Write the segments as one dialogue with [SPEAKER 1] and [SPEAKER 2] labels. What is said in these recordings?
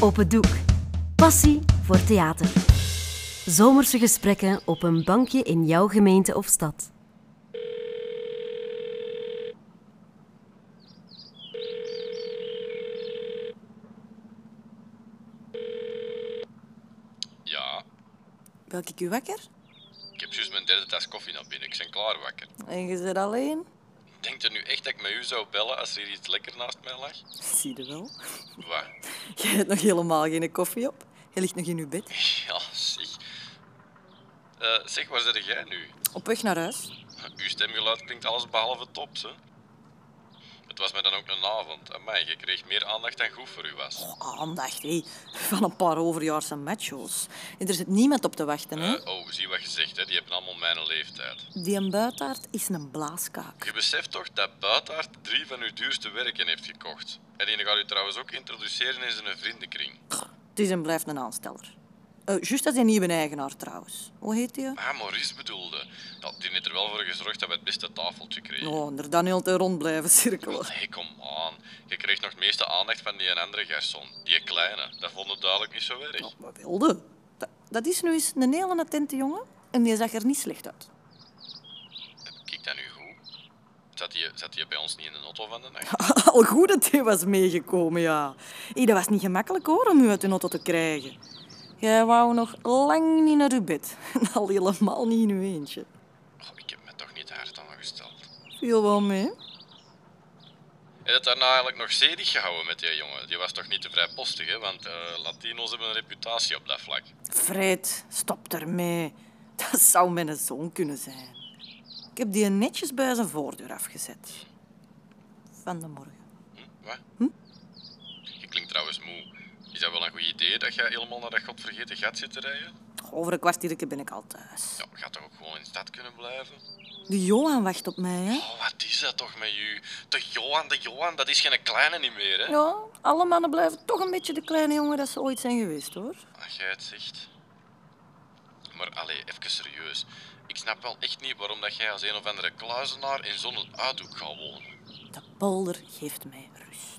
[SPEAKER 1] Op het doek. Passie voor theater. Zomerse gesprekken op een bankje in jouw gemeente of stad.
[SPEAKER 2] Ja,
[SPEAKER 3] Welk ik u wakker?
[SPEAKER 2] ik heb juist mijn derde tas koffie naar binnen. Ik ben klaar wakker.
[SPEAKER 3] En je zit alleen?
[SPEAKER 2] Denkt er nu echt dat ik met u zou bellen als er hier iets lekker naast mij lag?
[SPEAKER 3] Zie je wel.
[SPEAKER 2] Wat?
[SPEAKER 3] Je hebt nog helemaal geen koffie op. Je ligt nog in uw bed.
[SPEAKER 2] Ja, zeg. Eh, zeg, waar zit jij nu?
[SPEAKER 3] Op weg naar huis.
[SPEAKER 2] Uw stemgeluid klinkt alles behalve tops, hè? Het was mij dan ook een avond. Amai, je kreeg meer aandacht dan goed voor u was.
[SPEAKER 3] Oh, aandacht, hé. Van een paar overjaarse macho's. En er zit niemand op te wachten, hè.
[SPEAKER 2] Eh, oh, zie wat je zegt, hè? Die hebben allemaal mijn leeftijd.
[SPEAKER 3] Die een buitaard is een blaaskaak.
[SPEAKER 2] Je beseft toch dat Buitaard drie van uw duurste werken heeft gekocht? En die gaat u trouwens ook introduceren in zijn vriendenkring.
[SPEAKER 3] Het is en blijft een aansteller. Eh Juist als een nieuwe eigenaar, trouwens. Hoe heet die?
[SPEAKER 2] Ah, Maurice bedoelde. Ja, die heeft er wel voor gezorgd dat we het beste tafeltje kregen.
[SPEAKER 3] Oh, er dan heel te rond blijven cirkelen.
[SPEAKER 2] Hey, kom aan. Je kreeg nog het meeste aandacht van die andere garçon. Die kleine. Dat vond het duidelijk niet zo erg.
[SPEAKER 3] Wat wilde? Dat, dat is nu eens een hele attente jongen. En die zag er niet slecht uit.
[SPEAKER 2] Kijk dat nu goed. Zat die, zat die bij ons niet in de auto van de nacht?
[SPEAKER 3] Al goed dat hij was meegekomen, ja. Hé, dat was niet gemakkelijk hoor, om u uit de auto te krijgen. Jij wou nog lang niet naar uw bed. En al helemaal niet in uw eentje.
[SPEAKER 2] Goh, ik heb me toch niet hard aangesteld.
[SPEAKER 3] Viel wel mee?
[SPEAKER 2] Heb je het daarna eigenlijk nog zedig gehouden met die jongen? Die was toch niet te vrijpostig, hè? Want eh, Latino's hebben een reputatie op dat vlak.
[SPEAKER 3] Fred, stop ermee. Dat zou mijn zoon kunnen zijn. Ik heb die netjes bij zijn voordeur afgezet. Van de morgen.
[SPEAKER 2] Hm? Wat? Je klinkt trouwens moe. Is dat wel een goed idee dat jij helemaal naar dat godvergeten gat zit te rijden?
[SPEAKER 3] Over een kwartiertje ben ik al thuis.
[SPEAKER 2] Ja, je had toch ook gewoon in de stad kunnen blijven?
[SPEAKER 3] De Johan wacht op mij, hè?
[SPEAKER 2] Oh, wat is dat toch met u? De Johan, de Johan, dat is geen kleine niet meer, hè?
[SPEAKER 3] Ja, alle mannen blijven toch een beetje de kleine jongen dat ze ooit zijn geweest, hoor.
[SPEAKER 2] Als jij het zegt. Maar allee, even serieus. Ik snap wel echt niet waarom dat jij als een of andere kluizenaar in zo'n uithoek gaat wonen.
[SPEAKER 3] De polder geeft mij rust.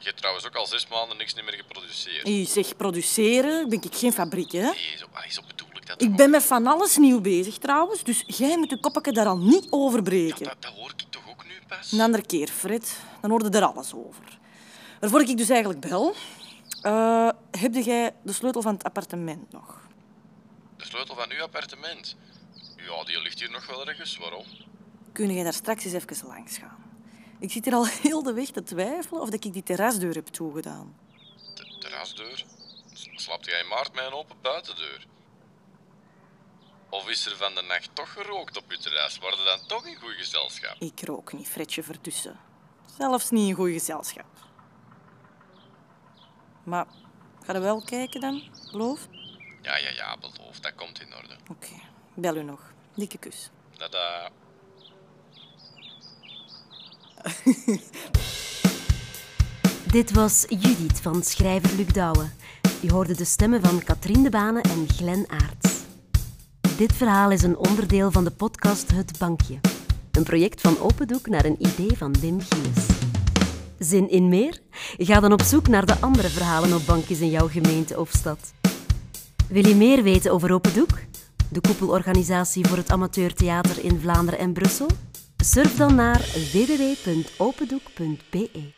[SPEAKER 2] Je hebt trouwens ook al zes maanden niks niet meer geproduceerd.
[SPEAKER 3] Ik zeg produceren, ben ik geen fabriek, hè?
[SPEAKER 2] Nee, zo, allee, zo bedoel ik dat
[SPEAKER 3] Ik
[SPEAKER 2] toch
[SPEAKER 3] ben
[SPEAKER 2] ook
[SPEAKER 3] met van alles nieuw bezig trouwens, dus jij moet je koppetje daar al niet over
[SPEAKER 2] niet? Ja,
[SPEAKER 3] breken.
[SPEAKER 2] dat, dat hoor ik toch ook nu pas?
[SPEAKER 3] Een andere keer, Fred, dan hoorde er alles over. Waarvoor ik dus eigenlijk bel, eh, heb jij de sleutel van het appartement nog?
[SPEAKER 2] De sleutel van uw appartement. Ja, die ligt hier nog wel ergens. Waarom?
[SPEAKER 3] Kun jij daar straks eens even langs gaan? Ik zit hier al heel de weg te twijfelen of dat ik die terrasdeur heb toegedaan.
[SPEAKER 2] De terrasdeur? S- Slaapt jij in maart met een open buitendeur? Of is er van de nacht toch gerookt op je terras? Waren dan toch in goed gezelschap?
[SPEAKER 3] Ik rook niet, Fredje Verdussen. Zelfs niet in goed gezelschap. Maar ga er wel kijken dan, beloof?
[SPEAKER 2] Ja, ja, ja, beloof. Dat komt in orde. eh,
[SPEAKER 3] Oké, bel u nog. Dikke kus.
[SPEAKER 2] Tada.
[SPEAKER 1] Dit was Judith van schrijver Luc Douwe. Je hoorde de stemmen van Katrien de Bane en Glen Aerts. Dit verhaal is een onderdeel van de podcast Het Bankje. Een project van Opendoek naar een idee van Wim Gies. Zin in meer? Ga dan op zoek naar de andere verhalen op bankjes in jouw gemeente of stad. Wil je meer weten over Opendoek? De koepelorganisatie voor het amateurtheater in Vlaanderen en Brussel? Surf dan naar www.opendoek.be.